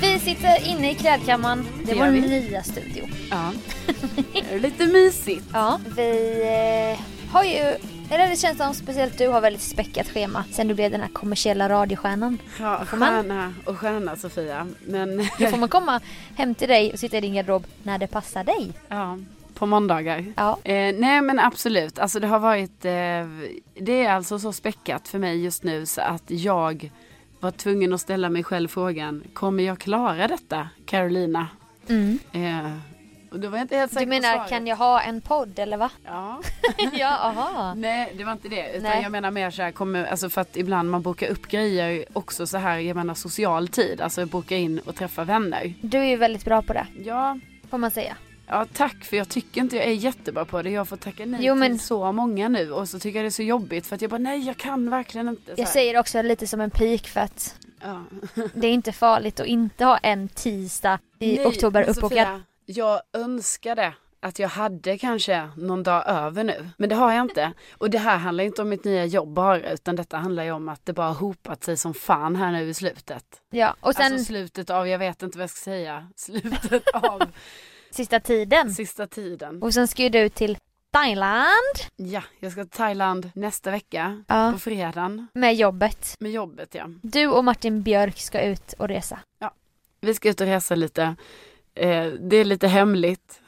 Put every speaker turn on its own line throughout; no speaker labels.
Vi sitter inne i klädkammaren. Det
Det
är
gör
vår
vi.
nya studio.
Ja. Det är Lite mysigt.
Ja. Vi eh, har ju, eller det känns som speciellt du har väldigt späckat schema sen du blev den här kommersiella radiostjärnan.
Ja,
Får man?
stjärna och stjärna Sofia. Men
Då får man komma hem till dig och sitta i din garderob när det passar dig.
ja, på måndagar.
Ja.
Eh, nej men absolut, alltså det har varit, eh, det är alltså så späckat för mig just nu så att jag var tvungen att ställa mig själv frågan, kommer jag klara detta Carolina? Eh, och då var jag inte helt
Mm. Du
säker på
menar,
svaret.
kan jag ha en podd eller va?
Ja.
ja, aha.
Nej, det var inte det. Utan
Nej.
jag menar mer så här, kommer, alltså för att ibland man bokar upp grejer också så här, jag menar social tid. Alltså boka in och träffa vänner.
Du är ju väldigt bra på det,
Ja,
får man säga.
ja tack för jag tycker inte jag är jättebra på det. Jag får tacka nej
Jo, men-
till så många nu och så tycker jag det är så jobbigt för att jag bara nej jag kan verkligen inte. Så
Jag
här.
säger också lite som en pik för att
ja.
det är inte farligt att inte ha en tisdag i
Nej,
oktober
men
uppbokad.
Sofia, Jag önskade att jag hade kanske någon dag över nu. Men det har jag inte. Och det här handlar inte om mitt nya jobb bara. Utan detta handlar ju om att det bara har hopat sig som fan här nu i slutet.
Ja, och sen
Alltså slutet av, jag vet inte vad jag ska säga. Slutet av
sista tiden.
sista tiden.
Och sen ska ju du till Thailand
Ja, jag ska till Thailand nästa vecka.
Ja.
På fredagen.
med jobbet.
Med jobbet ja.
Du och Martin Björk ska ut och resa.
Vi ska ut och resa lite. Eh, det är lite hemligt.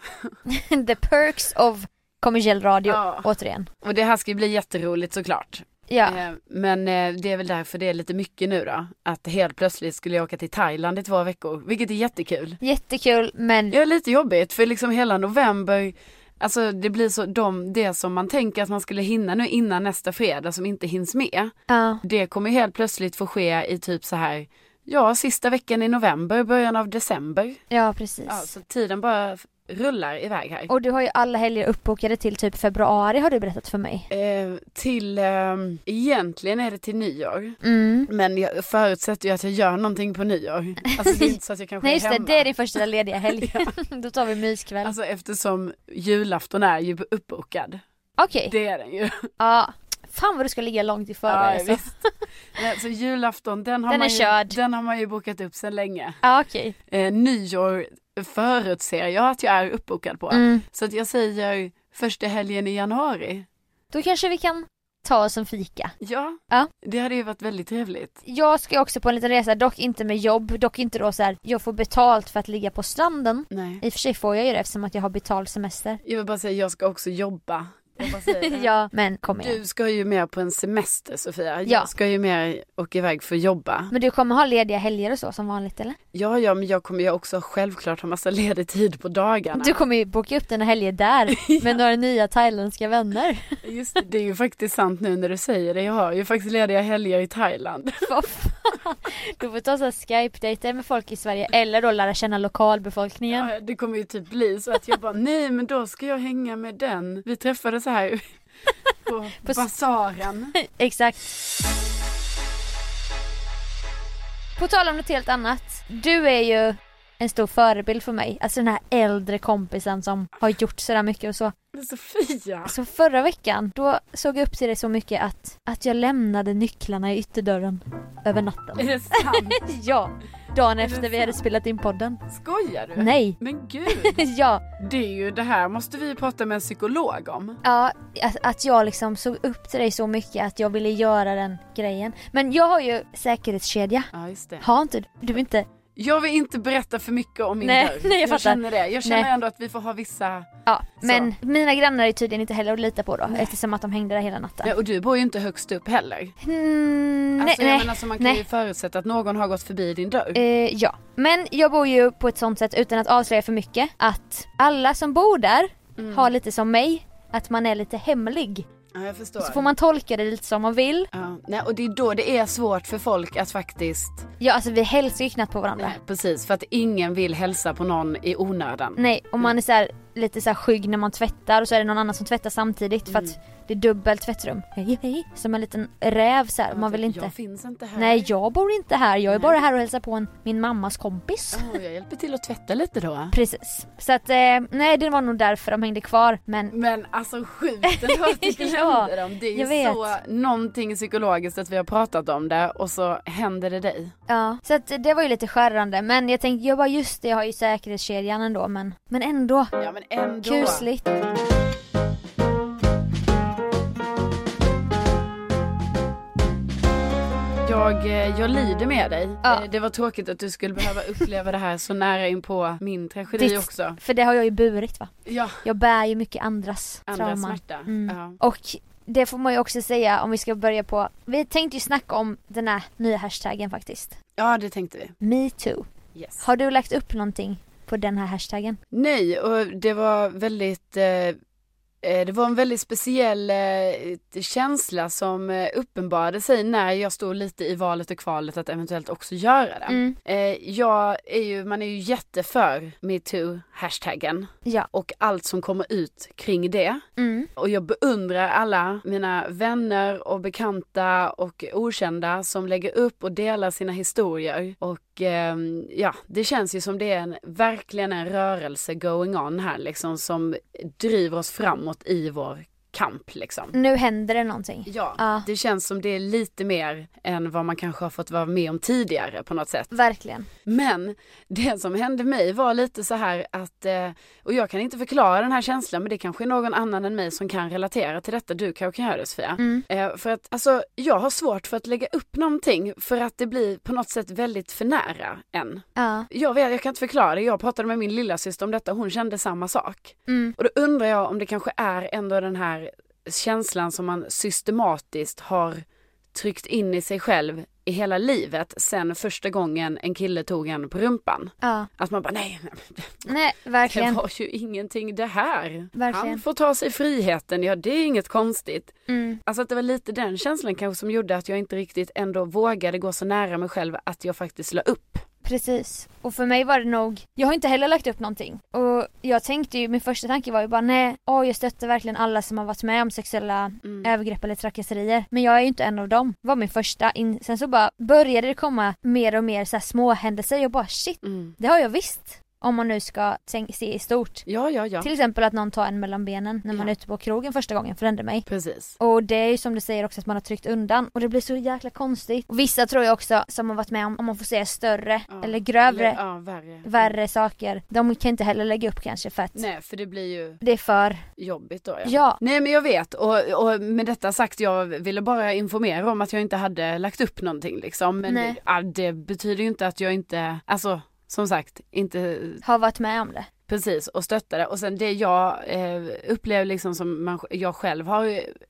The perks of kommersiell radio
Ja.
återigen.
Och det här ska ju bli jätteroligt såklart.
Ja.
Eh, Men eh, det är väl därför det är lite mycket nu då. Att helt plötsligt skulle jag åka till Thailand i två veckor, vilket är jättekul.
Jättekul men
Det är lite jobbigt för liksom hela november, alltså det blir så, de, det som man tänker att man skulle hinna nu innan nästa fredag som inte hinns med.
ja.
Det kommer ju helt plötsligt få ske i typ så här, ja sista veckan i november, början av december.
ja precis.
Ja, så tiden bara f- rullar iväg här.
Och du har ju alla helger uppbokade till typ februari har du berättat för mig.
Eh, till, eh, egentligen är det till nyår.
Mm.
Men jag förutsätter ju att jag gör någonting på nyår. Alltså det är inte så att jag kanske
Nej just
är
det,
hemma.
det är din första lediga helg. Då tar vi myskväll.
Alltså eftersom julafton är ju uppbokad.
Okej.
Det är den ju.
Ja. Fan vad du ska ligga långt i förväg alltså.
visst. Nej, så julafton den har,
Den är
man ju,
körd.
den har man ju bokat upp sedan länge.
Ja okej.
Eh, nyår förutser jag att jag är uppbokad på.
Mm.
Så att jag säger första helgen i januari.
Då kanske vi kan ta oss en fika.
Ja,
Ja.
det hade ju varit väldigt trevligt.
Jag ska ju också på en liten resa, dock inte med jobb, dock inte då så här. jag får betalt för att ligga på stranden.
Nej.
I och för sig får jag ju det eftersom att jag har betald semester.
Jag vill bara säga jag ska också jobba jag bara säger det.
ja, men kom igen.
Du ska ju mer på en semester Sofia.
Ja.
Jag ska ju mer åka iväg för att jobba.
Men du kommer ha lediga helger och så som vanligt eller?
Ja, ja, men jag kommer ju också självklart ha massa ledig tid på dagarna.
Du kommer ju boka upp dina helger där med några nya thailändska vänner.
Just det, det är ju faktiskt sant nu när du säger det. Jag har ju faktiskt lediga helger i Thailand.
Vad fan? du får ta så här skype-dejter med folk i Sverige eller då lära känna lokalbefolkningen.
Ja, det kommer ju typ bli så att jag bara, nej men då ska jag hänga med den. Vi träffades så här på,
På s-
basaren.
Exakt. På tal om något helt annat. Du är ju en stor förebild för mig. Alltså den här äldre kompisen som har gjort sådär mycket och så.
Men Sofia!
Så förra veckan, då såg jag upp till dig så mycket att, att jag lämnade nycklarna i ytterdörren över natten.
Är det sant?
Ja, dagen
det
efter vi
sant?
hade spelat in podden.
Skojar du?
Nej.
Men gud,
Ja,
det är ju det här måste vi prata med en psykolog om.
ja att, att jag liksom såg upp till dig så mycket att jag ville göra den grejen. Men jag har ju säkerhetskedja.
Ja, just det.
Har inte du inte?
Jag vill inte berätta för mycket om min
Nej,
dörr.
nej, jag fattar.
känner det. Jag känner
Nej.
ändå att vi får ha vissa...
Ja, men mina grannar är tydligen inte heller att lita på då eftersom att de hängde där hela natten.
Ja, och du bor ju inte högst upp heller.
Mm,
alltså, jag
nej,
menar,
nej.
så man kan
nej.
ju förutsätta att någon har gått förbi din dörr.
Eh, ja, men jag bor ju på ett sånt sätt utan att avslöja för mycket att alla som bor där
Mm.
har lite som mig, att man är lite hemlig.
ja, jag förstår.
Så får man tolka det lite som man vill.
Ja, nej, och det är då det är svårt för folk att faktiskt...
Ja, alltså vi hälsar ju knappt på varandra.
Nej, precis, för att ingen vill hälsa på någon i onödan.
Nej, och
Mm.
man är så här, lite så här skygg när man tvättar och så är det någon annan som tvättar samtidigt för
Mm.
att det är dubbelt tvättrum. Hej, hej. Som en liten räv så här, man vill inte.
Jag finns inte här.
Nej, jag bor inte här. Jag är bara här och hälsar på en, min mammas kompis.
Åh, jag hjälper till att tvätta lite då.
Precis. Så att, eh, nej det var nog därför de hängde kvar. Men
Men alltså sjukt ändå att du
Ja,
glömde dem. Det är
jag
ju
vet.
så någonting psykologiskt att vi har pratat om det och så händer det dig.
ja, så att det var ju lite skärrande. Men jag tänkte, jag bara just det, jag har ju säkerhetskedjan ändå. Men, men ändå,
Ja men ändå.
kusligt.
Jag, eh, jag lider med dig.
Ja.
Eh, Det var tråkigt att du skulle behöva uppleva det här så nära in på min tragedi
Visst.
också.
För det har jag ju burit va.
Ja,
Jag bär ju mycket andras,
andra
trauman.
smärta.
Mm.
Ja.
Och det får man ju också säga om vi ska börja på, vi tänkte ju snacka om den här nya hashtaggen faktiskt.
ja, det tänkte vi.
Metoo.
Yes.
Har du lagt upp någonting på den här hashtaggen?
Nej, och det var väldigt eh, eh, det var en väldigt speciell eh, känsla som eh, uppenbarade sig när jag stod lite i valet och kvalet att eventuellt också göra det.
Mm.
Eh, jag är ju, man är ju jätteför metoo-hashtaggen
Ja.
och allt som kommer ut kring det.
Mm.
Och jag beundrar alla mina vänner och bekanta och okända som lägger upp och delar sina historier. Och ehm, ja, det känns ju som det är en, verkligen en rörelse going on här liksom som driver oss framåt i vår kamp liksom.
Nu händer det någonting.
Ja,
Ja.
det känns som det är lite mer än vad man kanske har fått vara med om tidigare på något sätt.
Verkligen.
Men det som hände mig var lite så här att, eh, och jag kan inte förklara den här känslan men det kanske är någon annan än mig som kan relatera till detta. Du kanske kan göra det Sofia. Eh, För att alltså, jag har svårt för att lägga upp någonting för att det blir på något sätt väldigt för nära en.
Ja.
Jag vet, jag kan inte förklara det. Jag pratade med min lilla syster om detta, hon kände samma sak.
Mm.
Och då undrar jag om det kanske är ändå den här känslan som man systematiskt har tryckt in i sig själv i hela livet sen första gången en kille tog en på rumpan.
Ja.
Att man bara nej, nej,
Nej,
det
verkligen.
var ju ingenting det här.
Verkligen.
Han får ta sig friheten, ja det är inget konstigt.
Mm.
Alltså att det var lite den känslan kanske som gjorde att jag inte riktigt ändå vågade gå så nära mig själv att jag faktiskt la upp.
Precis. Och för mig var det nog, jag har inte heller lagt upp någonting. Och jag tänkte ju, min första tanke var ju bara nej, åh jag stöttar verkligen alla som har varit med om sexuella
Mm.
övergrepp eller trakasserier. Men jag är ju inte en av dem. var min första. In- Sen så bara började det komma mer och mer så här små händelser. Jag bara shit,
mm.
det har jag visst. Om man nu ska tänk- se i stort.
Ja, ja, ja.
Till exempel att någon tar en mellan benen när man
Ja.
är ute på krogen första gången, för det hände mig.
Precis.
Och det är ju som du säger också att man har tryckt undan och det blir så jäkla konstigt. Och vissa tror jag också som har varit med om, om man får säga större
Ja,
eller grövre,
Eller, ja, värre.
värre saker. De kan inte heller lägga upp kanske för att
Nej, för det blir ju
det är för...
jobbigt då.
Ja.
Nej men jag vet och, och med detta sagt jag ville bara informera om att jag inte hade lagt upp någonting liksom. Men
Nej.
ja, det betyder ju inte att jag inte, alltså som sagt, inte
Har varit med om det.
Precis, och stöttade. Och sen det jag eh, upplever liksom som man, jag själv har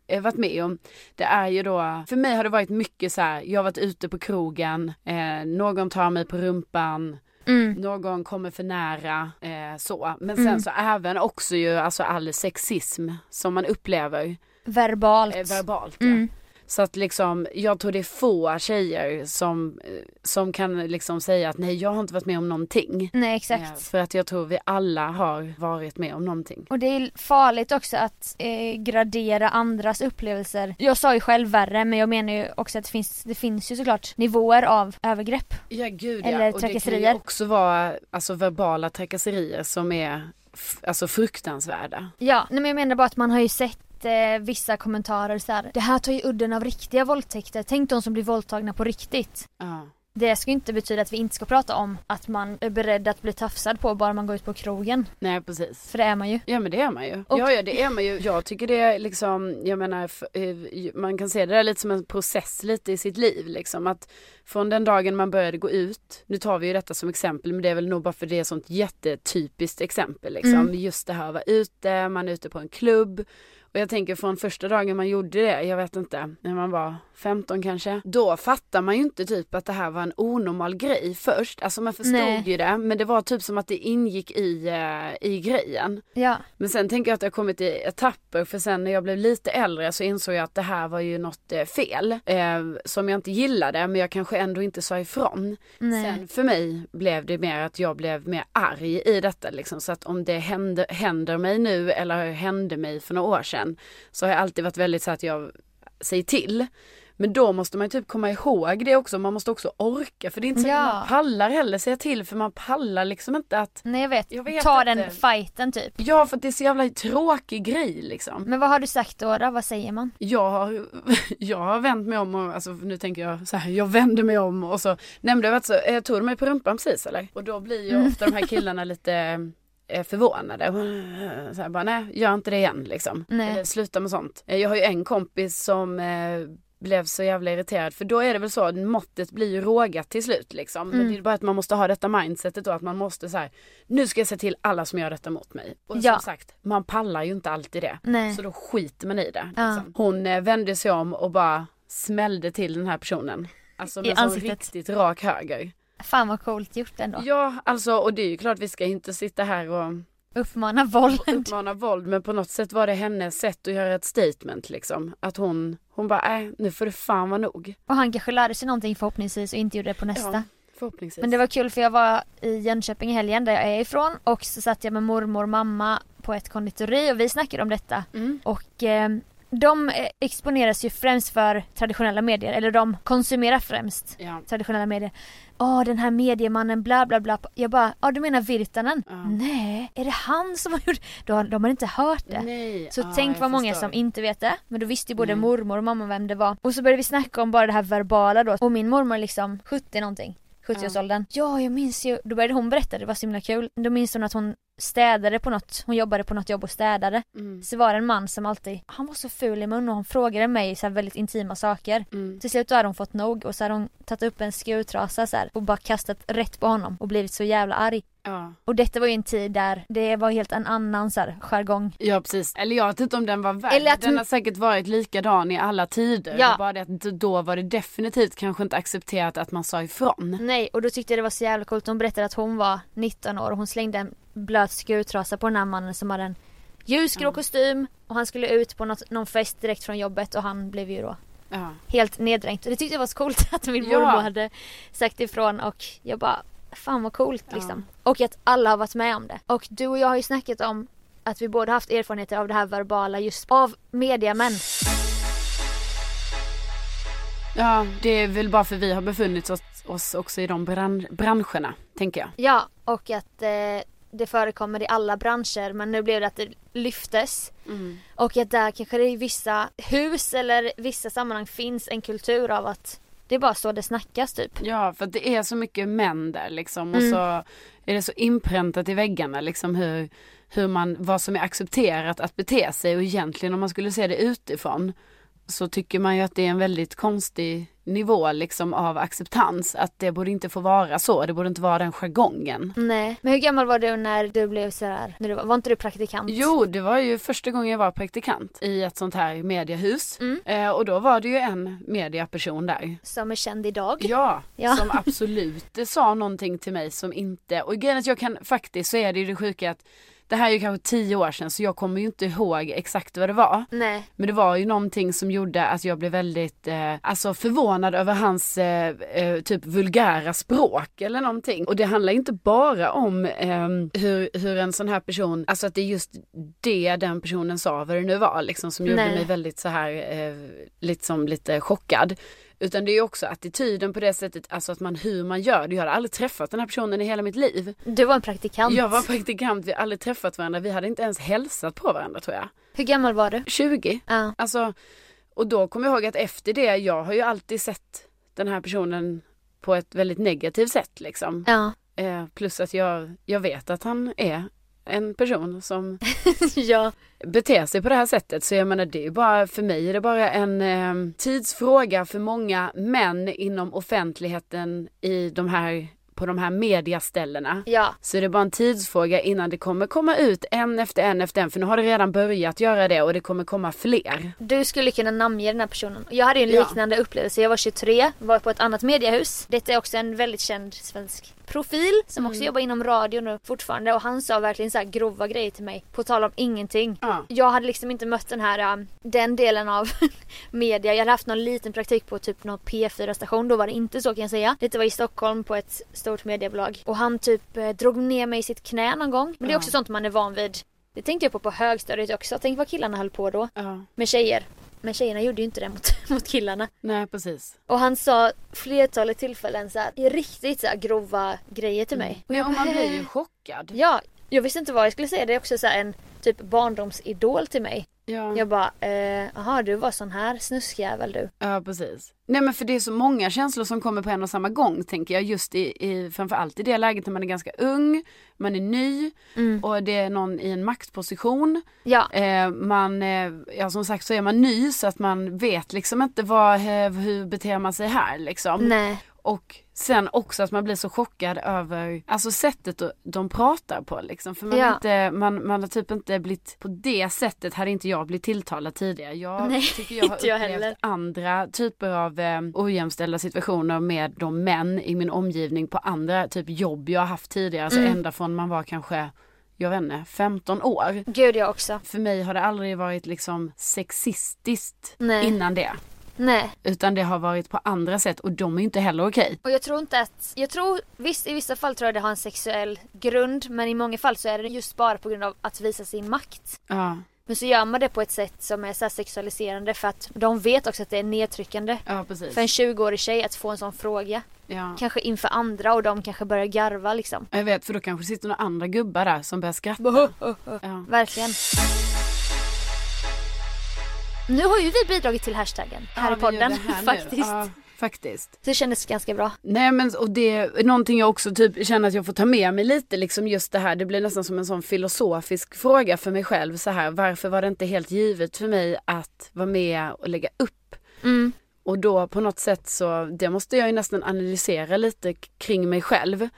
eh, varit med om, det är ju då, för mig har det varit mycket så här, jag har varit ute på krogen, eh, någon tar mig på rumpan,
Mm.
någon kommer för nära, eh, så. Men sen
Mm.
så även också ju alltså all sexism som man upplever
Verbalt.
eh, verbalt. Ja.
Mm.
Så att liksom, jag tror det är få tjejer som, eh, som kan liksom säga att nej jag har inte varit med om någonting.
Nej
Eh,
exakt.
För att jag tror vi alla har varit med om någonting.
Och det är farligt också att eh, gradera andras upplevelser. Jag sa ju själv värre men jag menar ju också att det finns, det finns ju såklart nivåer av övergrepp.
Ja gud
ja.
ja.
Eller
Och det kan ju
trakasserier.
också vara alltså, verbala trakasserier som är f- alltså, fruktansvärda.
Ja, nej, men jag menar bara att man har ju sett eh, vissa kommentarer så här. Det här tar ju udden av riktiga våldtäkter. Tänk de som blir våldtagna på riktigt.
Ja.
Det ska ju inte betyda att vi inte ska prata om att man är beredd att bli tafsad på bara man går ut på krogen.
Nej precis.
För det är man ju.
Ja men det är man ju.
Och-
Ja ja det är man ju. Jag tycker det är liksom, jag menar f- eh, man kan se det där lite som en process lite i sitt liv liksom. Att från den dagen man började gå ut, nu tar vi ju detta som exempel men det är väl nog bara för det är ett sånt jättetypiskt exempel liksom.
Mm.
Just det här att vara ute, man är ute på en klubb. Och jag tänker från första dagen man gjorde det, jag vet inte, när man var 15 kanske. Då fattar man ju inte typ att det här var en onormal grej först. Alltså man förstod
Nej.
ju det men det var typ som att det ingick i, eh, i grejen.
Ja.
Men sen tänker jag att det har kommit i etapper för sen när jag blev lite äldre så insåg jag att det här var ju något eh, fel eh, som jag inte gillade men jag kanske ändå inte sa ifrån.
Nej.
Sen för mig blev det mer att jag blev mer arg i detta liksom så att om det händer, händer mig nu eller hände mig för några år sedan så har jag alltid varit väldigt så att jag säger till. Men då måste man ju typ komma ihåg det också, man måste också orka för det är inte så
Ja.
att man pallar heller säga till för man pallar liksom inte att
Nej jag vet.
Jag vet
Ta
inte.
den fighten typ.
Ja för att det är så jävla tråkig grej liksom.
Men vad har du sagt då? då? Vad säger man?
jag har, jag har vänt mig om och alltså, nu tänker jag så här, jag vänder mig om och så nämnde jag att så, eh, tog du mig på rumpan precis eller? Och då blir
Mm.
ju ofta de här killarna lite eh, förvånade. Så här, bara, nej, gör inte det igen liksom.
Nej.
Eller, sluta med sånt. Eh, Jag har ju en kompis som eh, blev så jävla irriterad för då är det väl så måttet blir ju rågat till slut liksom. Men
Mm.
det är bara att man måste ha detta mindsetet då att man måste så här, nu ska jag se till alla som gör detta mot mig. Och
Ja.
som sagt, man pallar ju inte alltid det.
Nej.
Så då skiter man i det.
Ja.
Liksom. Hon eh, vände sig om och bara smällde till den här personen. Alltså
I
med sån
ansiktet.
riktigt rak höger.
Fan vad coolt gjort ändå.
Ja, alltså och det är ju klart vi ska inte sitta här och
Uppmana våld.
uppmana våld men på något sätt var det hennes sätt att göra ett statement liksom. Att hon, hon bara, äh, nu får det fan vara nog.
Och han kanske lärde sig någonting förhoppningsvis och inte gjorde det på nästa.
Ja, förhoppningsvis.
Men det var kul för jag var i Jönköping i helgen där jag är ifrån och så satt jag med mormor och mamma på ett konditori och vi snackade om detta.
Mm.
Och eh, de eh, exponeras ju främst för traditionella medier, eller de konsumerar främst
Ja.
traditionella medier. Åh den här mediemannen bla bla bla. Jag bara, ja du menar Virtanen?
Ja.
Nej, är det han som har gjort Då har, de har inte hört det.
Nej.
Så
ja,
tänk
jag
vad många
förstår. Mm.
som inte vet det. Men då visste ju både
Nej.
mormor och mamma vem det var. Och så började vi snacka om bara det här verbala då. Och min mormor är liksom 70 någonting. 70-årsåldern. Ja, jag minns ju. Då började hon berätta, det var så himla kul. Då minns hon att hon städade på något. Hon jobbade på något jobb och städade.
Mm.
Så var det en man som alltid, han var så ful i mun och hon frågade mig så här väldigt intima saker.
Mm.
Till slut då hade hon fått nog och så hade hon tagit upp en skurtrasa så här och bara kastat rätt på honom och blivit så jävla arg.
Ja.
Och detta var ju en tid där det var helt en annan så här jargong.
Ja precis, eller jag vet inte om den var värd.
Eller att
Den
hon-
har säkert varit likadan i alla tider.
Ja.
Det är Bara det att då var det definitivt kanske inte accepterat att man sa ifrån.
Nej, och då tyckte jag det var så jävla coolt. Hon berättade att hon var 19 år och hon slängde en blöt skurtrasa på den här mannen som hade en ljusgrå kostym och han skulle ut på något, någon fest direkt från jobbet och han blev ju då
Ja.
helt neddränkt. Och det tyckte jag var så coolt att min
Ja.
mormor hade sagt ifrån och jag bara fan vad coolt liksom. Och att alla har varit med om det. Och du och jag har ju snackat om att vi båda haft erfarenheter av det här verbala just av mediamän.
ja, det är väl bara för vi har befunnit oss, oss också i de bran- branscherna, tänker jag.
Ja, och att eh, det förekommer i alla branscher men nu blev det att det lyftes.
Mm.
Och att där kanske det i vissa hus eller vissa sammanhang finns en kultur av att det är bara så det snackas typ.
Ja, för att det är så mycket män där liksom. Och
Mm.
så är det så inpräntat i väggarna liksom hur, hur man, vad som är accepterat att bete sig och egentligen om man skulle se det utifrån så tycker man ju att det är en väldigt konstig nivå liksom av acceptans. Att det borde inte få vara så, det borde inte vara den jargongen.
Nej. Men hur gammal var du när du blev så här? När du var, var inte du praktikant?
Jo, det var ju första gången jag var praktikant i ett sånt här mediehus.
Mm.
Eh, och då var det ju en mediaperson där.
Som är känd idag.
Ja,
Ja.
som absolut det sa någonting till mig som inte, och grejen är att jag kan faktiskt så är det ju det sjuka att det här är ju kanske tio år sedan så jag kommer ju inte ihåg exakt vad det var.
Nej.
Men det var ju någonting som gjorde att jag blev väldigt eh, alltså förvånad över hans eh, eh, typ vulgära språk eller någonting. Och det handlar inte bara om ehm, hur, hur en sån här person, alltså att det är just det den personen sa, vad det nu var liksom som gjorde
Nej.
mig väldigt så här, eh, liksom lite chockad. Utan det är ju också attityden på det sättet, alltså att man hur man gör det. Jag hade aldrig träffat den här personen i hela mitt liv.
Du var en praktikant.
Jag var praktikant, vi hade aldrig träffat varandra, vi hade inte ens hälsat på varandra tror jag.
Hur gammal var du?
20.
Ja.
Alltså, och då kommer jag ihåg att efter det, jag har ju alltid sett den här personen på ett väldigt negativt sätt liksom.
Ja.
Eh, plus att jag, jag vet att han är en person som
ja.
beter sig på det här sättet. Så jag menar, det är ju bara, för mig är det bara en eh, tidsfråga för många män inom offentligheten i de här, på de här mediaställena.
Ja.
Så det är bara en tidsfråga innan det kommer komma ut en efter en efter en. För nu har det redan börjat göra det och det kommer komma fler.
Du skulle kunna namnge den här personen. Jag hade ju en
Ja.
liknande upplevelse. Jag var 23, var på ett annat mediehus. Detta är också en väldigt känd svensk profil som också
Mm.
jobbar inom radio nu fortfarande och han sa verkligen så här grova grejer till mig på tal om ingenting.
Ja.
Jag hade liksom inte mött den här, um, den delen av media. Jag hade haft någon liten praktik på typ någon P4-station. Då var det inte så kan jag säga. Detta var i Stockholm på ett stort mediebolag. Och han typ eh, drog ner mig i sitt knä någon gång. Men det är också sånt man är van vid. Det tänkte jag på på högstadiet också. Tänk vad killarna höll på då
Ja.
med tjejer. Men tjejerna gjorde ju inte det mot, mot killarna.
Nej, precis.
Och han sa flertalet tillfällen så här, riktigt så här grova grejer till mig. Och
Men
jag
om
bara,
man blir ju
"Eh."
chockad.
Ja, jag visste inte vad jag skulle säga. Det är också så här en typ barndomsidol till mig.
Ja.
Jag bara, eh, aha du var sån här snuskjävel du.
ja, precis. Nej, men för det är så många känslor som kommer på en och samma gång, tänker jag. Just i, i framförallt i det läget när man är ganska ung, man är ny
Mm.
och det är någon i en maktposition.
Ja,
Eh, man, eh, ja som sagt så är man ny så att man vet liksom inte vad, eh, hur beter man sig här liksom.
nej.
Och sen också att man blir så chockad över alltså sättet då- de pratar på liksom. För man,
Ja.
har inte, man, man har typ inte blivit, på det sättet hade inte jag blivit tilltalad tidigare. Jag
Nej,
tycker jag har
inte jag
upplevt
heller.
andra typer av eh, ojämställda situationer med de män i min omgivning på andra typ jobb jag har haft tidigare. Alltså
Mm.
ända från man var kanske, jag vet inte, 15 år.
Gud jag också.
För mig har det aldrig varit liksom sexistiskt
Nej.
innan det.
Nej.
Utan det har varit på andra sätt och de är inte heller okej.
Och jag tror inte att, jag tror visst i vissa fall tror jag det har en sexuell grund men i många fall så är det just bara på grund av att visa sin makt.
Ja,
Men så gör man det på ett sätt som är så här sexualiserande för att de vet också att det är nedtryckande.
ja precis.
För en 20-årig tjej att få en sån fråga.
Ja.
Kanske inför andra och de kanske börjar garva liksom.
Jag vet, för då kanske sitter några andra gubbar där som börjar skratta. Ja.
Verkligen. Nu har ju vi bidragit till hashtaggen här
Ja,
i
vi gör det
podden
här nu.
faktiskt.
Ja, faktiskt.
Så det kändes ganska bra.
Nej men och det är någonting jag också typ känner att jag får ta med mig lite liksom just det här. Det blir nästan som en sån filosofisk fråga för mig själv så här. Varför var det inte helt givet för mig att vara med och lägga upp?
Mm.
Och då på något sätt så, det måste jag ju nästan analysera lite k- kring mig själv.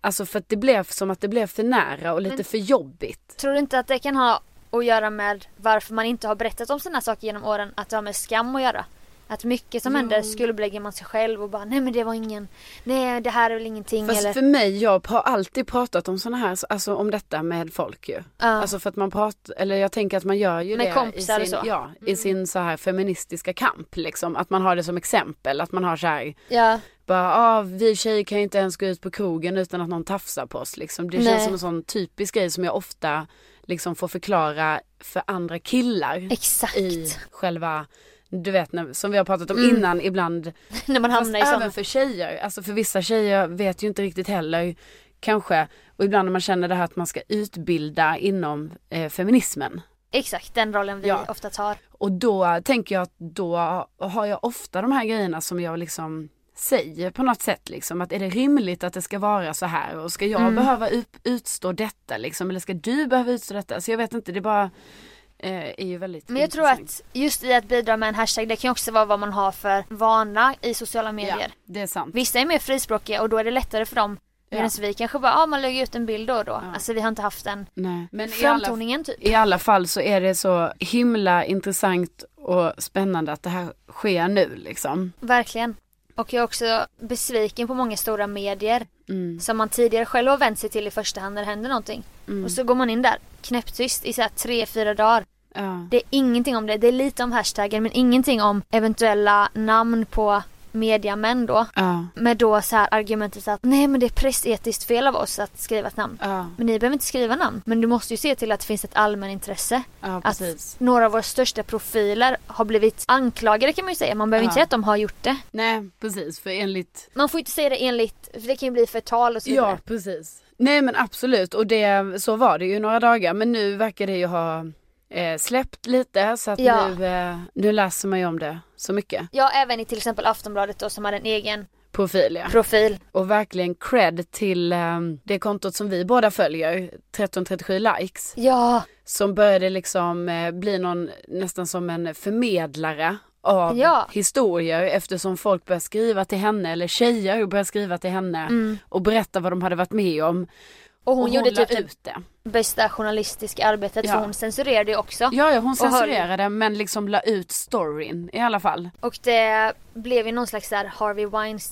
Alltså för att det blev som att det blev för nära och lite för jobbigt.
Tror du inte att det kan ha att göra med varför man inte har berättat om sådana saker genom åren? Att det har med skam att göra? Att mycket som händer skuldbelägger man sig själv och bara nej men det var ingen, nej det här är väl ingenting
Fast
eller
för mig, jag har alltid pratat om såna här, alltså om detta med folk ju. Alltså för att man pratar, eller jag tänker att man gör ju
Med
det
kompisar
i
och
sin,
så. Mm.
Ja, i sin så här feministiska kamp liksom. Att man har det som exempel, att man har så här,
Ja.
bara ah, vi tjejer kan ju inte ens gå ut på krogen utan att någon tafsar på oss liksom. Det
Nej.
känns som en sån typisk grej som jag ofta liksom får förklara för andra killar.
Exakt. Mm.
I själva, du vet när, som vi har pratat om innan ibland
När man
Fast
hamnar i
även
sådana.
för tjejer, alltså för vissa tjejer vet ju inte riktigt heller kanske och ibland när man känner det här att man ska utbilda inom eh, feminismen
Exakt den rollen vi
Ja.
ofta tar.
och då tänker jag att då har jag ofta de här grejerna som jag liksom säger på något sätt liksom att är det rimligt att det ska vara så här och
Mm.
Alltså ska jag behöva ut, utstå detta liksom eller ska du behöva utstå detta så jag vet inte det är bara eh, är ju väldigt
Men jag tror
intressant.
att just i att bidra med en hashtag, det kan ju också vara vad man har för vana i sociala medier.
Ja, det är sant.
Vissa är mer frispråkiga och då är det lättare för dem.
Ja.
Medan vi kanske bara, ja man lägger ut en bild då och då.
Ja.
Alltså vi har inte haft den
Nej. Men i alla,
framtoningen typ.
I alla fall så är det så himla intressant och spännande att det här sker nu liksom.
Verkligen. Och jag är också besviken på många stora medier
Mm.
som man tidigare själv har vänt sig till i första hand när det händer någonting. Och så går man in där knäpptyst i så här tre, fyra dagar.
Ja.
Det är ingenting om det. Det är lite om hashtaggen men ingenting om eventuella namn på mediamän då.
Ja.
Med då så här argumentet att nej men det är pressetiskt fel av oss att skriva ett namn.
Ja.
Men ni behöver inte skriva namn. Men du måste ju se till att det finns ett allmänintresse.
ja,
Att
precis.
några av våra största profiler har blivit anklagade kan man ju säga. Man behöver
Ja.
inte säga att de har gjort det.
Nej, precis. För enligt
Man får inte säga det enligt, för det kan ju bli förtal och så
Ja,
vidare.
precis. Nej men absolut och det, så var det ju några dagar men nu verkar det ju ha eh, släppt lite så att
Ja.
nu, eh, nu läser man ju om det så mycket.
Ja, även i till exempel Aftonbladet då som hade en egen
Profil ja.
profil.
Och verkligen cred till eh, det kontot som vi båda följer, 1337 likes.
Ja,
Som började liksom eh, bli någon, nästan som en förmedlare av
Ja.
historier eftersom folk började skriva till henne eller tjejer började skriva till henne och berätta vad de hade varit med om.
Mm. och hon, gjorde
la
typ det
ut det.
bästa journalistiska arbetet
Ja.
för hon censurerade ju också.
Ja, ja hon
höll-
censurerade men liksom la ut storyn i alla fall.
Och det blev ju någon slags så här Harvey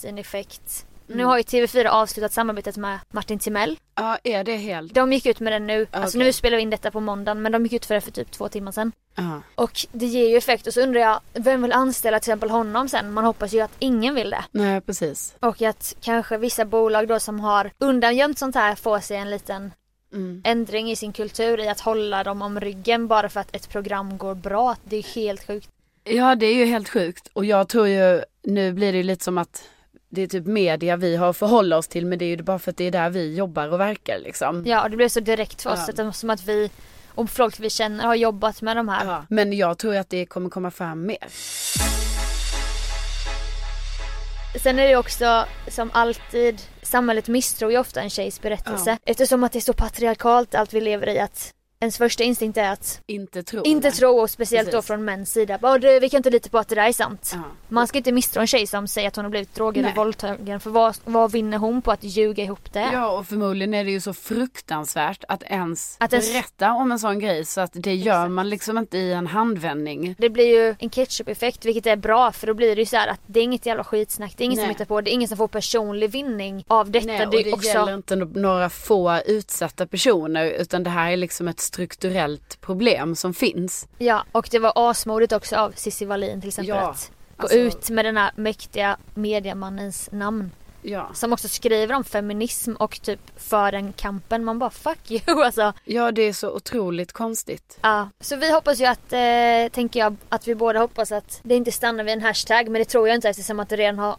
Weinstein-effekt.
Mm.
Nu har ju TV4 avslutat samarbetet med Martin Timell.
Ja, är det helt...
De gick ut med den nu. Alltså
Ah, Okej.
nu spelar vi in detta på måndagen men de gick ut för det för typ två timmar sedan.
Ja.
Och det ger ju effekt och så undrar jag, vem vill anställa till exempel honom sen? Man hoppas ju att ingen vill det.
Nej, precis.
Och att kanske vissa bolag då som har undangömt sånt här får sig en liten
Mm.
ändring i sin kultur i att hålla dem om ryggen bara för att ett program går bra. Det är helt sjukt.
Ja, det är ju helt sjukt. Och jag tror ju, nu blir det ju lite som att det är typ media vi har att förhålla oss till men det är ju bara för att det är där vi jobbar och verkar liksom.
Ja, och det blev så direkt för oss
Ja.
att det var som att vi och folk vi känner har jobbat med de här.
Ja. Men jag tror att det kommer komma fram mer.
Sen är det ju också som alltid, samhället misstror ju ofta en tjejs berättelse.
Ja.
Eftersom att det är så patriarkalt allt vi lever i att ens första instinkt är att
Inte tro.
inte
nej.
tro och speciellt
Precis.
då från mäns sida. Bara, "Du, vi kan inte lita på att det där är sant.
Ja.
Man ska inte misstro en tjej som säger att hon har blivit drogad
Nej.
och våldtagen för vad, vad vinner hon på att ljuga ihop det?
Ja och förmodligen är det ju så fruktansvärt att ens,
Att ens-
berätta om en sån grej så att det gör man liksom inte i en handvändning.
Det blir ju en ketchup-effekt vilket är bra för då blir det ju så här att det är inget jävla skitsnack, det är ingen som
Nej.
hittar på, det är ingen som får personlig vinning av detta.
Nej, och
det
det,
är också...
gäller inte no- några få utsatta personer utan det här är liksom ett strukturellt problem som finns.
Ja, och det var asmodigt också av Cissi Wallin till exempel
Ja,
att gå
alltså-
ut med den här mäktiga mediamannens namn.
Ja,
Som också skriver om feminism och typ för den kampen. Man bara fuck you alltså.
ja det är så otroligt konstigt.
Ja, så vi hoppas ju att, eh, tänker jag, att vi båda hoppas att det inte stannar vid en hashtag. Men det tror jag inte eftersom att det redan har,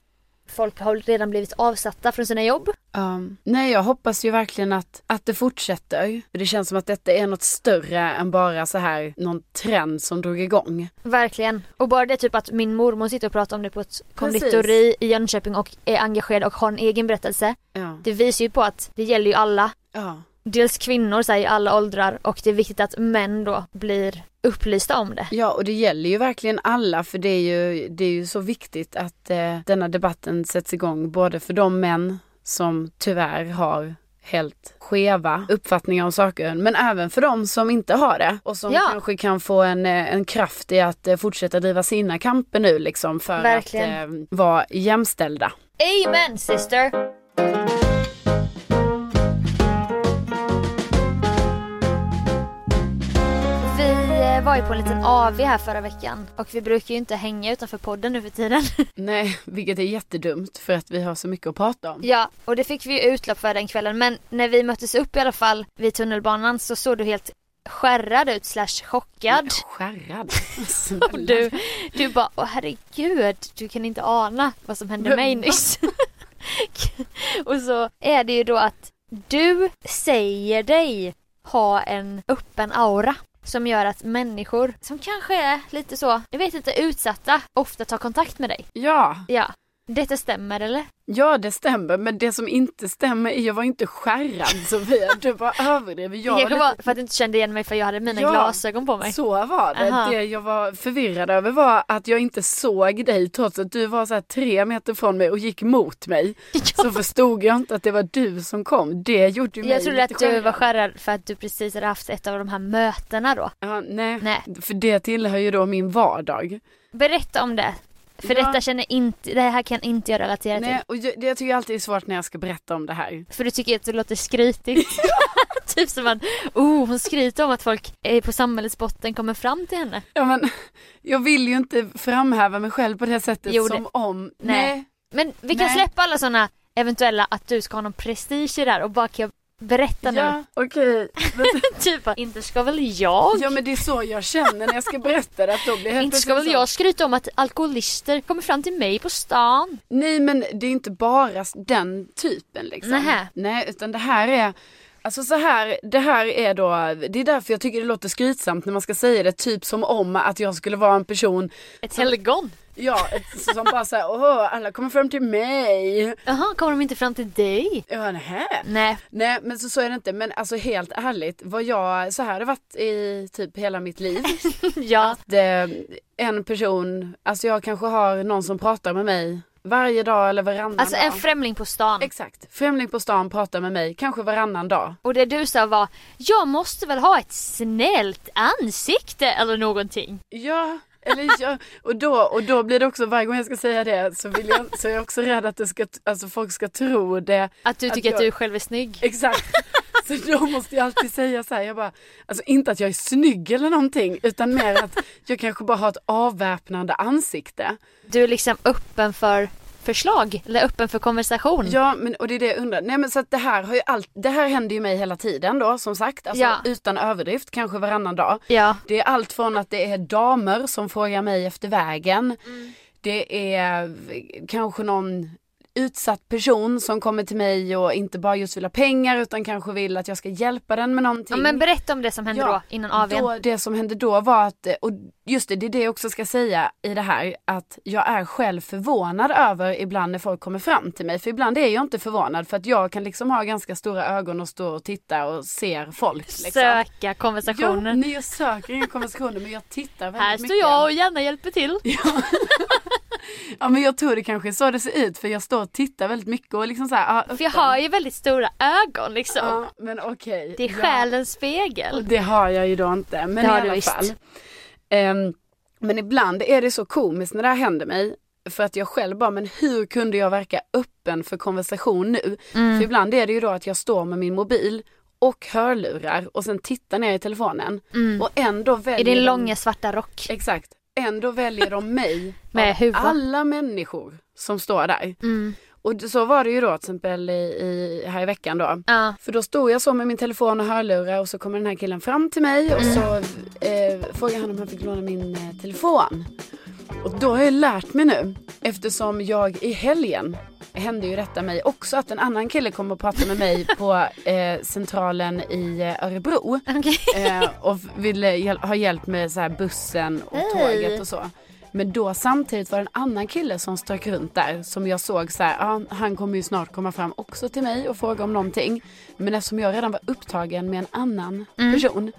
folk har redan blivit avsatta från sina jobb.
Um, nej, jag hoppas ju verkligen att, att det fortsätter. För Det känns som att detta är något större än bara så här någon trend som drog igång.
Verkligen. Och bara det typ att min mormor sitter och pratar om det på ett
Precis.
konditori i Jönköping och är engagerad och har en egen berättelse.
Ja,
Det visar ju på att det gäller ju alla.
ja,
Dels kvinnor så här, i alla åldrar och det är viktigt att män då blir upplysta om det.
ja och det gäller ju verkligen alla för det är ju, det är ju så viktigt att eh, denna debatten sätts igång både för de män som tyvärr har helt skeva uppfattningar om saker men även för de som inte har det och som
Ja.
kanske kan få en, eh, en kraft i att eh, fortsätta driva sina kamper nu liksom för att eh,
Verkligen.
vara jämställda.
Amen sister! Vi eh, var ju på en liten AV här förra veckan och vi brukar ju inte hänga utanför podden nu för tiden.
Nej, vilket är jättedumt för att vi har så mycket att prata om.
ja, och det fick vi ju utlopp för den kvällen men när vi möttes upp i alla fall vid tunnelbanan så såg du helt skärrad ut slash chockad.
Skärrad.
Och du, du bara, åh herregud, du kan inte ana vad som hände mig nyss. och så är det ju då att du säger dig ha en öppen aura som gör att människor som kanske är lite så, jag vet inte, utsatta ofta tar kontakt med dig.
Ja,
Ja. Detta stämmer eller?
Ja, det stämmer. Men det som inte stämmer är jag var inte skärrad Sofia. Du bara överdrev. Jag
det kanske
var
var för att du inte kände igen mig för jag hade mina
Ja.
glasögon på mig.
Så var det.
Aha.
Det jag var förvirrad över var att jag inte såg dig trots att du var så här tre meter från mig och gick mot mig. Så förstod jag inte att det var du som kom. Det gjorde ju mig
Jag trodde
lite
att du var
skärrad.
skärrad för att du precis hade haft ett av de här mötena då.
Ja, nej.
Nej.
för det tillhör ju då min vardag.
Berätta om det. För
Ja.
detta känner inte, det här kan inte jag relatera
Nej, och jag, det jag tycker alltid är svårt när jag ska berätta om det här.
till. För du tycker att det låter skrytigt. typ som att, oh hon skryter om att folk eh, på samhällets botten kommer fram till henne.
Ja, men, jag vill ju inte framhäva mig själv på det här sättet
Jo, det-
som om...
Nej. Men vi kan
Nej.
släppa alla sådana eventuella att du ska ha någon prestige i det här och bara kan jag berätta nu.
Ja, okej. Men-
typ bara, inte ska väl jag?
Ja men det är så jag känner när jag ska berätta det att då blir jag helt
inte ska väl
plötsligt
jag
så.
skryta om att alkoholister kommer fram till mig på stan?
Nej men det är inte bara den typen liksom.
Nähä.
Nej utan det här är Alltså så här, det här är då, det är därför jag tycker det låter skrytsamt när man ska säga det typ som om att jag skulle vara en person,
Ett helgon?
ja, ett- som bara säger åh alla kommer fram till mig.
Jaha, kommer de inte fram till dig?
Ja, nähä.
Nej,
Nej men så, så är det inte, men alltså helt ärligt, vad jag, så här har det varit i typ hela mitt liv.
ja.
det, en person, alltså jag kanske har någon som pratar med mig varje dag eller varannan
Alltså
dag.
en främling på stan.
Exakt. Främling på stan pratar med mig kanske varannan dag.
Och det du sa var, jag måste väl ha ett snällt ansikte eller någonting.
Ja, eller jag, och, då, och då blir det också varje gång jag ska säga det så, vill jag, så är jag också rädd att det ska, alltså folk ska tro det.
Att du tycker att,
jag-
du själv är snygg.
Exakt. Så då måste jag alltid säga så här, jag bara, alltså inte att jag är snygg eller någonting utan mer att jag kanske bara har ett avväpnande ansikte.
Du är liksom öppen för förslag, eller öppen för konversation.
Ja, men, och det är det jag undrar. Nej, men så att det, här har ju allt, det här händer ju mig hela tiden då, som sagt. Alltså,
Ja.
Utan överdrift, kanske varannan dag.
Ja.
Det är allt från att det är damer som frågar mig efter vägen.
Mm.
Det är v- kanske någon utsatt person som kommer till mig och inte bara just vill ha pengar utan kanske vill att jag ska hjälpa den med någonting.
Ja, men berätta om det som hände då, innan AWn.
Då, det som hände då var att, eh, och just det, det är det jag också ska säga i det här, att jag är själv förvånad över ibland när folk kommer fram till mig. För ibland är jag inte förvånad för att jag kan liksom ha ganska stora ögon och stå och titta och ser folk. Liksom.
Söka
Ja,
konversationen.
nej jag söker inga konversationer men jag tittar väldigt
Här
mycket.
står jag och gärna hjälper till.
Ja men jag tror det kanske är så det ser ut för jag står och tittar väldigt mycket och liksom så här, ah,
För jag har ju väldigt stora ögon liksom.
ja, men okej.
Det är
Ja.
själens spegel.
Det har jag ju då inte. Men
Det har
i
du
alla
visst.
fall. Ehm, men ibland är det så komiskt när det här händer mig. För att jag själv bara, men hur kunde jag verka öppen för konversation nu?
Mm.
För ibland är det ju då att jag står med min mobil och hörlurar och sen tittar ner i telefonen. Och ändå väljer
Mm. I din
de-
långa svarta rock.
Exakt. Ändå väljer de mig
Med
av
huva.
alla människor som står där.
Mm.
Och d- så var det ju då till exempel i, i, här i veckan då.
Ja.
För då stod jag så med min telefon och hörlurar och så kommer den här killen fram till mig och så eh, frågade han om han fick låna min eh, telefon. Och då har jag lärt mig nu, eftersom jag i helgen hände ju detta mig också att en annan kille kom och pratade med mig på eh, centralen i eh, Örebro
Okej.
eh, och ville hjäl- ha hjälp med så här bussen och tåget och så. Men då samtidigt var det en annan kille som strök runt där som jag såg så här, ah, han kommer ju snart komma fram också till mig och fråga om någonting. Men eftersom jag redan var upptagen med en annan person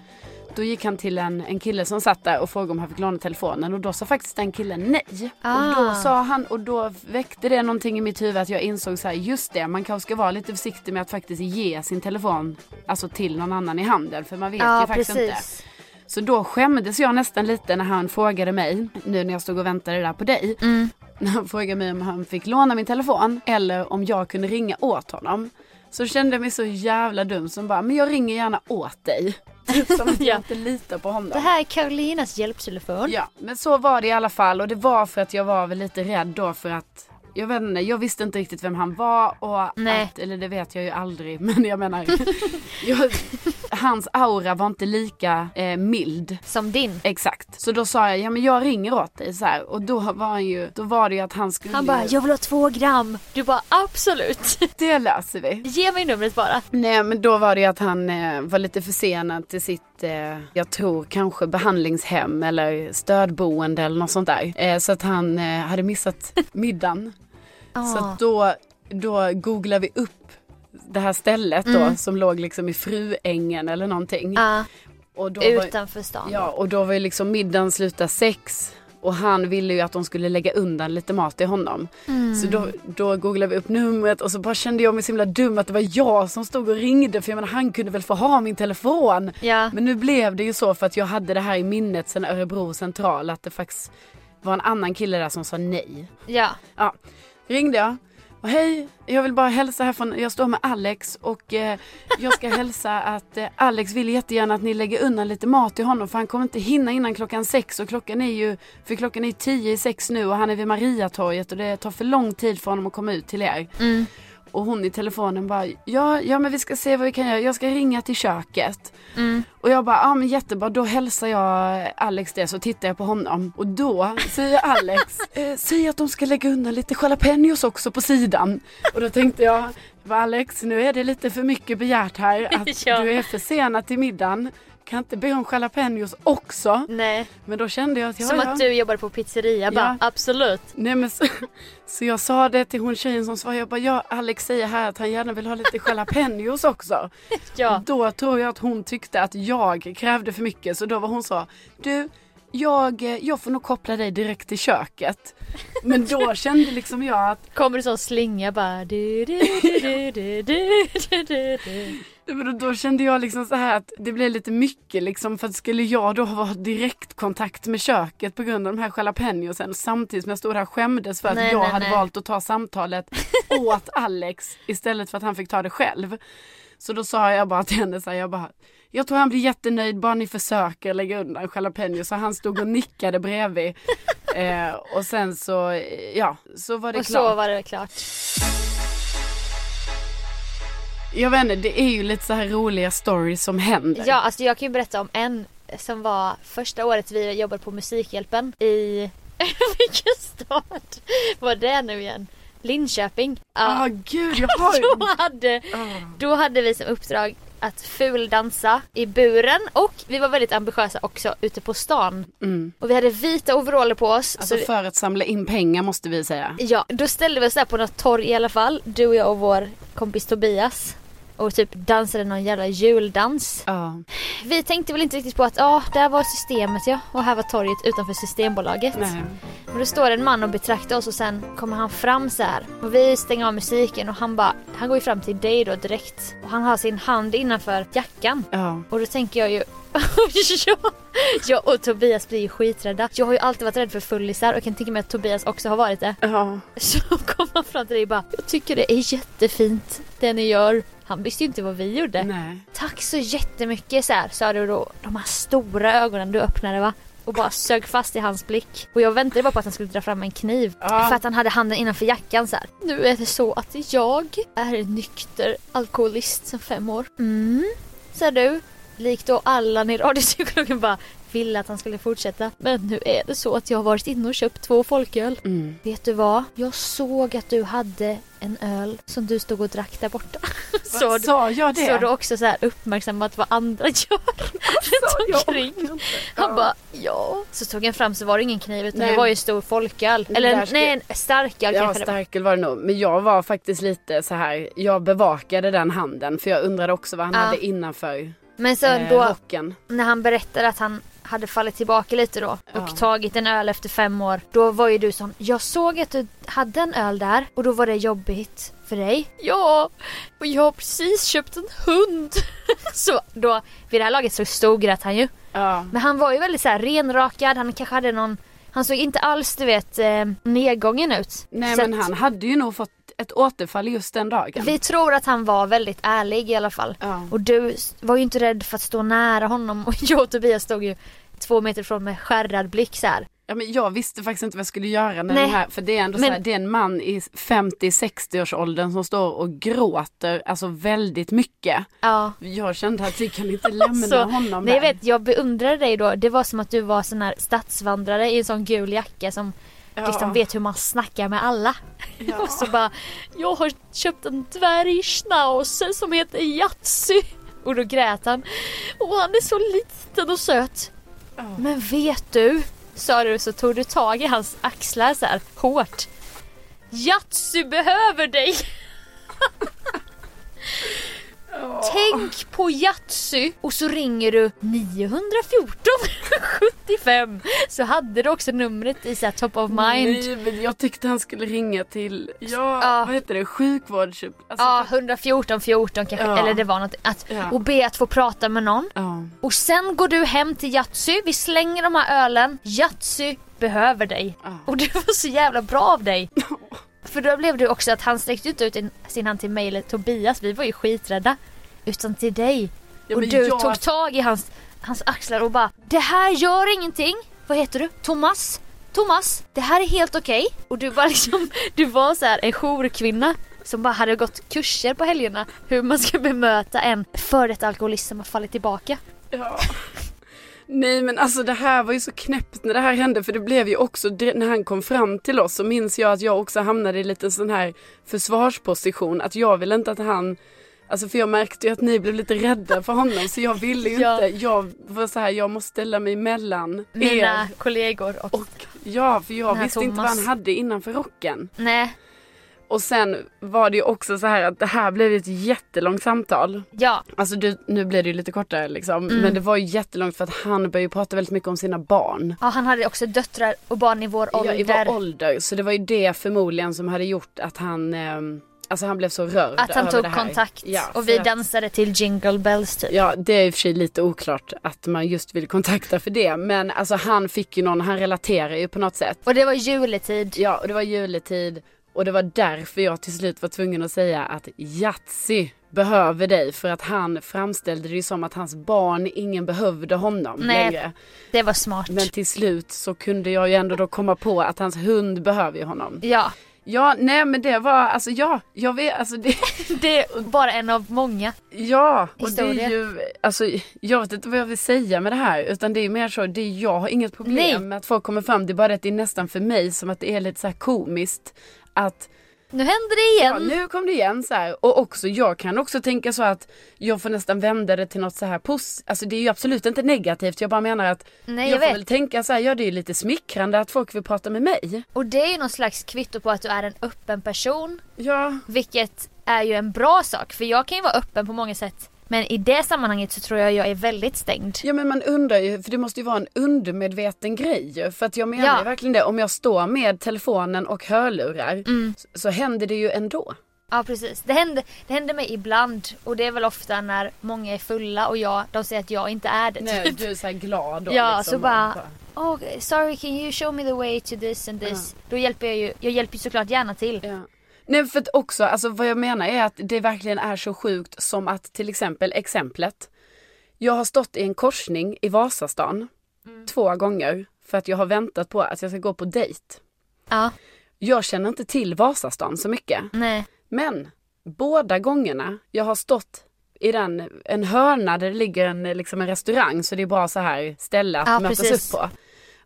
då gick han till en, en kille som satt där och frågade om han fick låna telefonen och då sa faktiskt den killen nej. Och då sa han och då väckte det någonting i mitt huvud att jag insåg så här, just det man kanske ska vara lite försiktig med att faktiskt ge sin telefon alltså till någon annan i handen för man vet ju
Ja,
faktiskt inte.
precis.
Så då skämdes jag nästan lite när han frågade mig, nu när jag stod och väntade där på dig.
Mm.
När han frågade mig om han fick låna min telefon eller om jag kunde ringa åt honom. Så kände jag mig så jävla dum som bara, men jag ringer gärna åt dig. Typ som att jag inte litar på honom.
Det här är Karolinas hjälptelefon.
Ja, men så var det i alla fall och det var för att jag var väl lite rädd då för att jag vet inte, jag visste inte riktigt vem han var och
Nej.
att, eller det vet jag ju aldrig men jag menar, jag, hans aura var inte lika eh, mild.
Som din.
Exakt. Så då sa jag, ja men jag ringer åt dig så här. och då var han ju, då var det ju att han skulle
Han bara,
ju-
jag vill ha två gram. Du bara, absolut.
det löser vi.
Ge mig numret bara.
Nej men då var det ju att han eh, var lite försenad till sitt, eh, jag tror kanske behandlingshem eller stödboende eller något sånt där. Eh, så att han eh, hade missat middagen. Så
Ah.
att då, då googlar vi upp det här stället då
Mm.
som låg liksom i Fruängen eller någonting.
Ah,
Ja,
Och då var,
utanför stan.
ja, och då var ju liksom middagen slutade sex och han ville ju att de skulle lägga undan lite mat till honom.
Mm.
Så då, då googlade vi upp numret och så bara kände jag mig så himla dum att det var jag som stod och ringde för jag menar han kunde väl få ha min telefon.
Ja.
Men nu blev det ju så för att jag hade det här i minnet sen Örebro central att det faktiskt var en annan kille där som sa nej.
ja.
Ja, ringde jag. Och hej, jag vill bara hälsa här från, jag står med Alex och eh, jag ska hälsa att eh, Alex vill jättegärna att ni lägger undan lite mat till honom för han kommer inte hinna innan klockan sex och klockan är ju, för klockan är tio i sex nu och han är vid Mariatorget och det tar för lång tid för honom att komma ut till er.
Mm.
Och hon i telefonen bara, ja, ja men vi ska se vad vi kan göra, jag ska ringa till köket.
Mm.
Och jag bara, ja ah, men jättebra, då hälsar jag Alex det så tittar jag på honom. Och då säger Alex, eh, säg att de ska lägga undan lite jalapenos också på sidan. Och då tänkte jag, "Va, Alex nu är det lite för mycket begärt här att
Ja.
du är försenad till middagen. Kan inte be om jalapenos också.
Nej.
Men då kände jag att jag
Som att du jobbar på pizzeria bara. Absolut.
Nej men så, så jag sa det till hon tjejen som svarade, jag bara, ja Alex säger här att han gärna vill ha lite jalapenos också.
Ja.
Och Då tror jag att hon tyckte att jag krävde för mycket så då var hon så, du jag, eh, jag får nog koppla dig direkt till köket. Men då kände liksom jag att
Kommer det sån slinga bara... Du, du, du, du, du, du, du, du, du.
Nej, men då- Då kände jag liksom så här att det blev lite mycket liksom för att skulle jag då ha direktkontakt med köket på grund av de här jalapenosen samtidigt som jag stod där och skämdes för att
Nej,
jag
nej,
hade
nej.
valt att ta samtalet åt Alex istället för att han fick ta det själv. Så då sa jag bara till henne så här, jag bara jag tror han blir jättenöjd bara ni försöker lägga undan jalapenos. Så han stod och nickade bredvid. Eh, och sen så, eh, ja, så var det
Och
klart.
så var det klart.
Jag vet inte, det är ju lite så här roliga stories som händer.
Ja, alltså jag kan ju berätta om en som var första året vi jobbade på Musikhjälpen i... Vilken stad var det nu igen? Linköping.
Ah,
Ja.
gud, jag har ju...
Då hade,
Ah.
då hade vi som uppdrag att fuldansa i buren och vi var väldigt ambitiösa också ute på stan.
Mm.
Och vi hade vita overaller på oss. så
Alltså
vi-
för att samla in pengar måste vi säga.
Ja, då ställde vi oss där på något torg i alla fall, du och jag och vår kompis Tobias. Och typ dansade någon jävla juldans.
Ja.
Vi tänkte väl inte riktigt på att ah, där var systemet ja och här var torget utanför Systembolaget.
Nej.
Men då står en man och betraktar oss och sen kommer han fram så här. Och vi stänger av musiken och han bara, han går ju fram till dig då direkt. Och han har sin hand innanför jackan.
Ja.
Och då tänker jag ju jag, jag och Tobias blir ju skiträdda. Jag har ju alltid varit rädd för fullisar och jag kan tänka mig att Tobias också har varit det.
Ja.
Så kom han fram till dig och bara Jag tycker det är jättefint det ni gör. Han visste ju inte vad vi gjorde.
Nej.
Tack så jättemycket så här, sa du då. De här stora ögonen du öppnade va? Och bara sög fast i hans blick. Och jag väntade bara på att han skulle dra fram en kniv.
Ja.
För att han hade handen innanför jackan så här. Nu är det så att jag är en nykter alkoholist sedan fem år. Mm, sa du. Likt då Allan i radiopsykologen bara ville att han skulle fortsätta. Men nu är det så att jag har varit inne och köpt två folköl.
Mm.
Vet du vad? Jag såg att du hade en öl som du stod och drack där borta. Så
Vad
du,
Sa jag det?
så du också så här uppmärksammat vad andra gör runt omkring. Han bara ja. Så tog han fram så var det ingen kniv utan
Nej.
det var ju en stor folköl.
Men
Eller
där
en,
ska-
nej en starköl
Ja,
kanske det var.
starköl var det nog. Men jag var faktiskt lite så här, jag bevakade den handen för jag undrade också vad han
Ja.
hade innanför
Men så
eh,
då
rocken.
när han berättade att han hade fallit tillbaka lite då och
Ja.
tagit en öl efter fem år. Då var ju du sån, jag såg att du hade en öl där och då var det jobbigt för dig. Ja, och jag har precis köpt en hund. så då, vid det här laget så storgrät han ju.
Ja.
Men han var ju väldigt så här renrakad, han kanske hade någon han såg inte alls du vet eh, nedgången ut.
Nej
Så
men
att
han hade ju nog fått ett återfall just den dagen.
Vi tror att han var väldigt ärlig i alla fall.
Ja.
Och du s- var ju inte rädd för att stå nära honom och jag och Tobias stod ju två meter från med skärrad blick så här.
ja men jag visste faktiskt inte vad jag skulle göra när
Nej.
den här, för det är ändå så
Men-
här, det är en man i 50-60 års åldern som står och gråter alltså väldigt mycket.
Ja.
Jag kände att vi kan inte lämna
Så,
honom
Alltså, Nej jag
där.
vet, jag beundrade dig då. Det var som att du var sån här stadsvandrare i en sån gul jacka som liksom vet hur man snackar med alla. Och så bara, jag har köpt en dvärgschnauzer som heter Yatzy. Och då grät han. Och han är så liten och söt. Men vet du, sa du så tog du tag i hans axlar så här hårt. Jatsu behöver dig! Tänk på Jatsu och så ringer du 914 75 så hade du också numret i så här, top of mind.
Nej, alltså. men jag tyckte han skulle ringa till, ja,
Ja.
vad heter det, sjukvårds... Alltså,
Ja, 114 14 kanske,
Ja.
eller det var något. Att,
Ja.
Och be att få prata med någon.
ja.
Och sen går du hem till Yatsy, vi slänger de här ölen. Yatsy behöver dig.
Ja.
Och det var så jävla bra av dig. För då blev det också att han sträckte inte ut en- sin hand till mig eller Tobias, vi var ju skiträdda. Utan till dig.
Ja,
och
men
du
jag-
tog tag i hans, hans axlar och bara Det här gör ingenting. Vad heter du? Thomas? Thomas, det här är helt okej. Och du var liksom, du var så här en jourkvinna som bara hade gått kurser på helgerna hur man ska bemöta en före detta alkoholist som har fallit tillbaka.
Ja. Nej men alltså det här var ju så knäppt när det här hände för det blev ju också det- när han kom fram till oss så minns jag att jag också hamnade i lite sån här försvarsposition att jag ville inte att han Alltså för jag märkte ju att ni blev lite rädda för honom så jag ville ju
Ja.
inte. Jag var så här, jag måste ställa mig mellan
Mina
er.
kollegor och...
Och ja, för jag
Den här
visste inte vad
Thomas.
han hade innanför rocken.
Nej,
Och sen var det ju också så här att det här blev ett jättelångt samtal.
ja.
Alltså du, nu blir det ju lite kortare liksom.
Mm.
Men det var ju jättelångt för att han började ju prata väldigt mycket om sina barn.
ja. Han hade också döttrar och barn i vår ålder.
Ja, i vår ålder. Så det var ju det förmodligen som hade gjort att han, ehm, alltså han blev så rörd
att han
över det
tog
här.
kontakt
Ja, för
och vi
att-
dansade till Jingle Bells typ.
Ja det är i och för sig lite oklart att man just vill kontakta för det. Men alltså han fick ju någon, han relaterar ju på något sätt.
Och det var juletid.
Ja och det var juletid och det var därför jag till slut var tvungen att säga att Yatzy behöver dig för att han framställde det ju som att hans barn, ingen behövde honom
Nej.
längre.
Det var smart.
Men till slut så kunde jag ju ändå då komma på att hans hund behöver ju honom.
Ja,
Ja, nej men det var, alltså ja, jag vet, alltså det,
det är bara en av många.
ja. Och det
Historia.
är ju, alltså jag vet inte vad jag vill säga med det här utan det är ju mer så, det är, jag har inget problem
Nej.
med att folk kommer fram, det är bara att det är nästan för mig som att det är lite så här komiskt att
Nu händer det
Ja,
igen.
nu kom det igen så här. Och också, jag kan också tänka så att jag får nästan vända det till något så här pos- Alltså det är ju absolut inte negativt. Jag bara menar att
Nej, jag
jag får
vet.
väl tänka så här, ja det är ju lite smickrande att folk vill prata med mig.
Och det är ju någon slags kvitto på att du är en öppen person.
Ja.
Vilket är ju en bra sak. För jag kan ju vara öppen på många sätt. Men i det sammanhanget så tror jag jag är väldigt stängd.
Ja men man undrar ju, för det måste ju vara en undermedveten grej ju. För att jag menar
Ja.
ju verkligen det, om jag står med telefonen och hörlurar så, så händer det ju ändå.
Ja precis. Det händer, det händer mig ibland. Och det är väl ofta när många är fulla och jag, de säger att jag inte är det. typ.
Nej, du är så här glad då.
Ja,
liksom,
så
och
bara, oh, sorry can you show me the way to this and this. Då hjälper jag ju, jag hjälper ju såklart gärna till.
Ja. Nej för att också, alltså vad jag menar är att det verkligen är så sjukt som att till exempel exemplet. Jag har stått i en korsning i Vasastan två gånger för att jag har väntat på att jag ska gå på dejt.
Ja,
Jag känner inte till Vasastan så mycket.
nej.
Men båda gångerna jag har stått i den, en hörna där det ligger en, liksom en restaurang så det är bara så här ställe att
Ja,
mötas
precis.
upp på.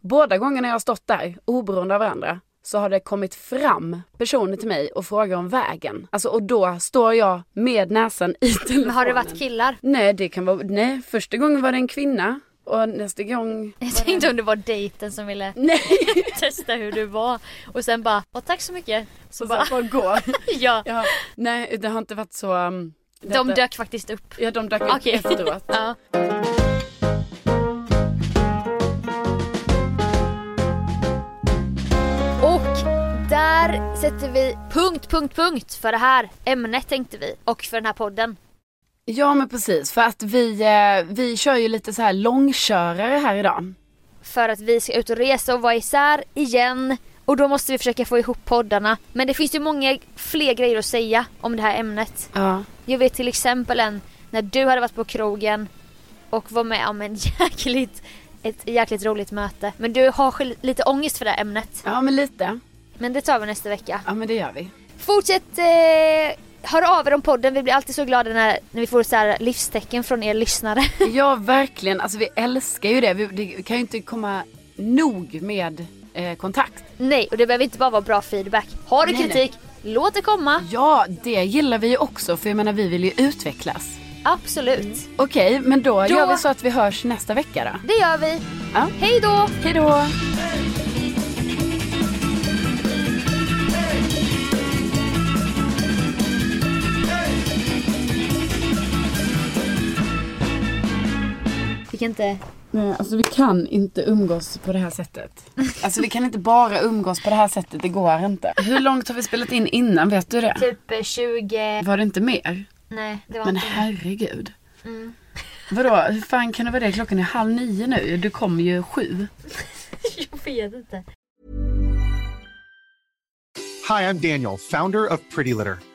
Båda gångerna jag har stått där, oberoende av varandra, så har det kommit fram personer till mig och frågar om vägen. Alltså och då står jag med näsan i telefonen.
Men har det varit killar?
Nej, det kan vara, nej, första gången var det en kvinna och nästa gång
Jag tänkte om det var dejten som ville
Nej,
testa hur du var. Och sen bara, åh tack så mycket. Så
så
bara,
bara gå.
ja.
Ja, nej, det har inte varit så... um,
De
detta-
dök faktiskt upp.
Ja, de dök upp
Okej.
efteråt.
Ja. Och där sätter vi punkt, punkt, punkt för det här ämnet tänkte vi. Och för den här podden.
Ja men precis, för att vi, eh, vi kör ju lite så här långkörare här idag.
För att vi ska ut och resa och vara isär igen. Och då måste vi försöka få ihop poddarna. Men det finns ju många fler grejer att säga om det här ämnet.
Ja.
Jag vet till exempel en när du hade varit på krogen och var med om en jäkligt, ett jäkligt roligt möte. Men du har själv lite ångest för det här ämnet.
ja men lite.
Men det tar vi nästa vecka.
Ja men det gör vi.
Fortsätt eh, höra av er om podden. Vi blir alltid så glada när, när vi får så här livstecken från er lyssnare.
Ja verkligen, alltså vi älskar ju det. Vi, det kan ju inte komma nog med eh, kontakt.
nej, och det behöver inte bara vara bra feedback. Har du
Nej,
kritik, låt det komma.
Ja, det gillar vi ju också för jag menar vi vill ju utvecklas.
Absolut.
Okej, men då,
Då-
gör vi så att vi hörs nästa vecka då.
Det gör vi.
Ja.
Hej då!
Hej då!
fick inte...
Nej, alltså vi kan inte umgås på det här sättet. Alltså vi kan inte bara umgås på det här sättet, det går inte. Hur långt har vi spelat in innan, vet du det?
Typ eh, 20...
Var det inte mer?
Nej, det var
Men
Mm. inte...
herregud. Vadå, hur fan kan det vara det? Klockan är halv nio nu, du kom ju sju.
Jag vet inte.
Hi, I'm Daniel, founder of Pretty Litter.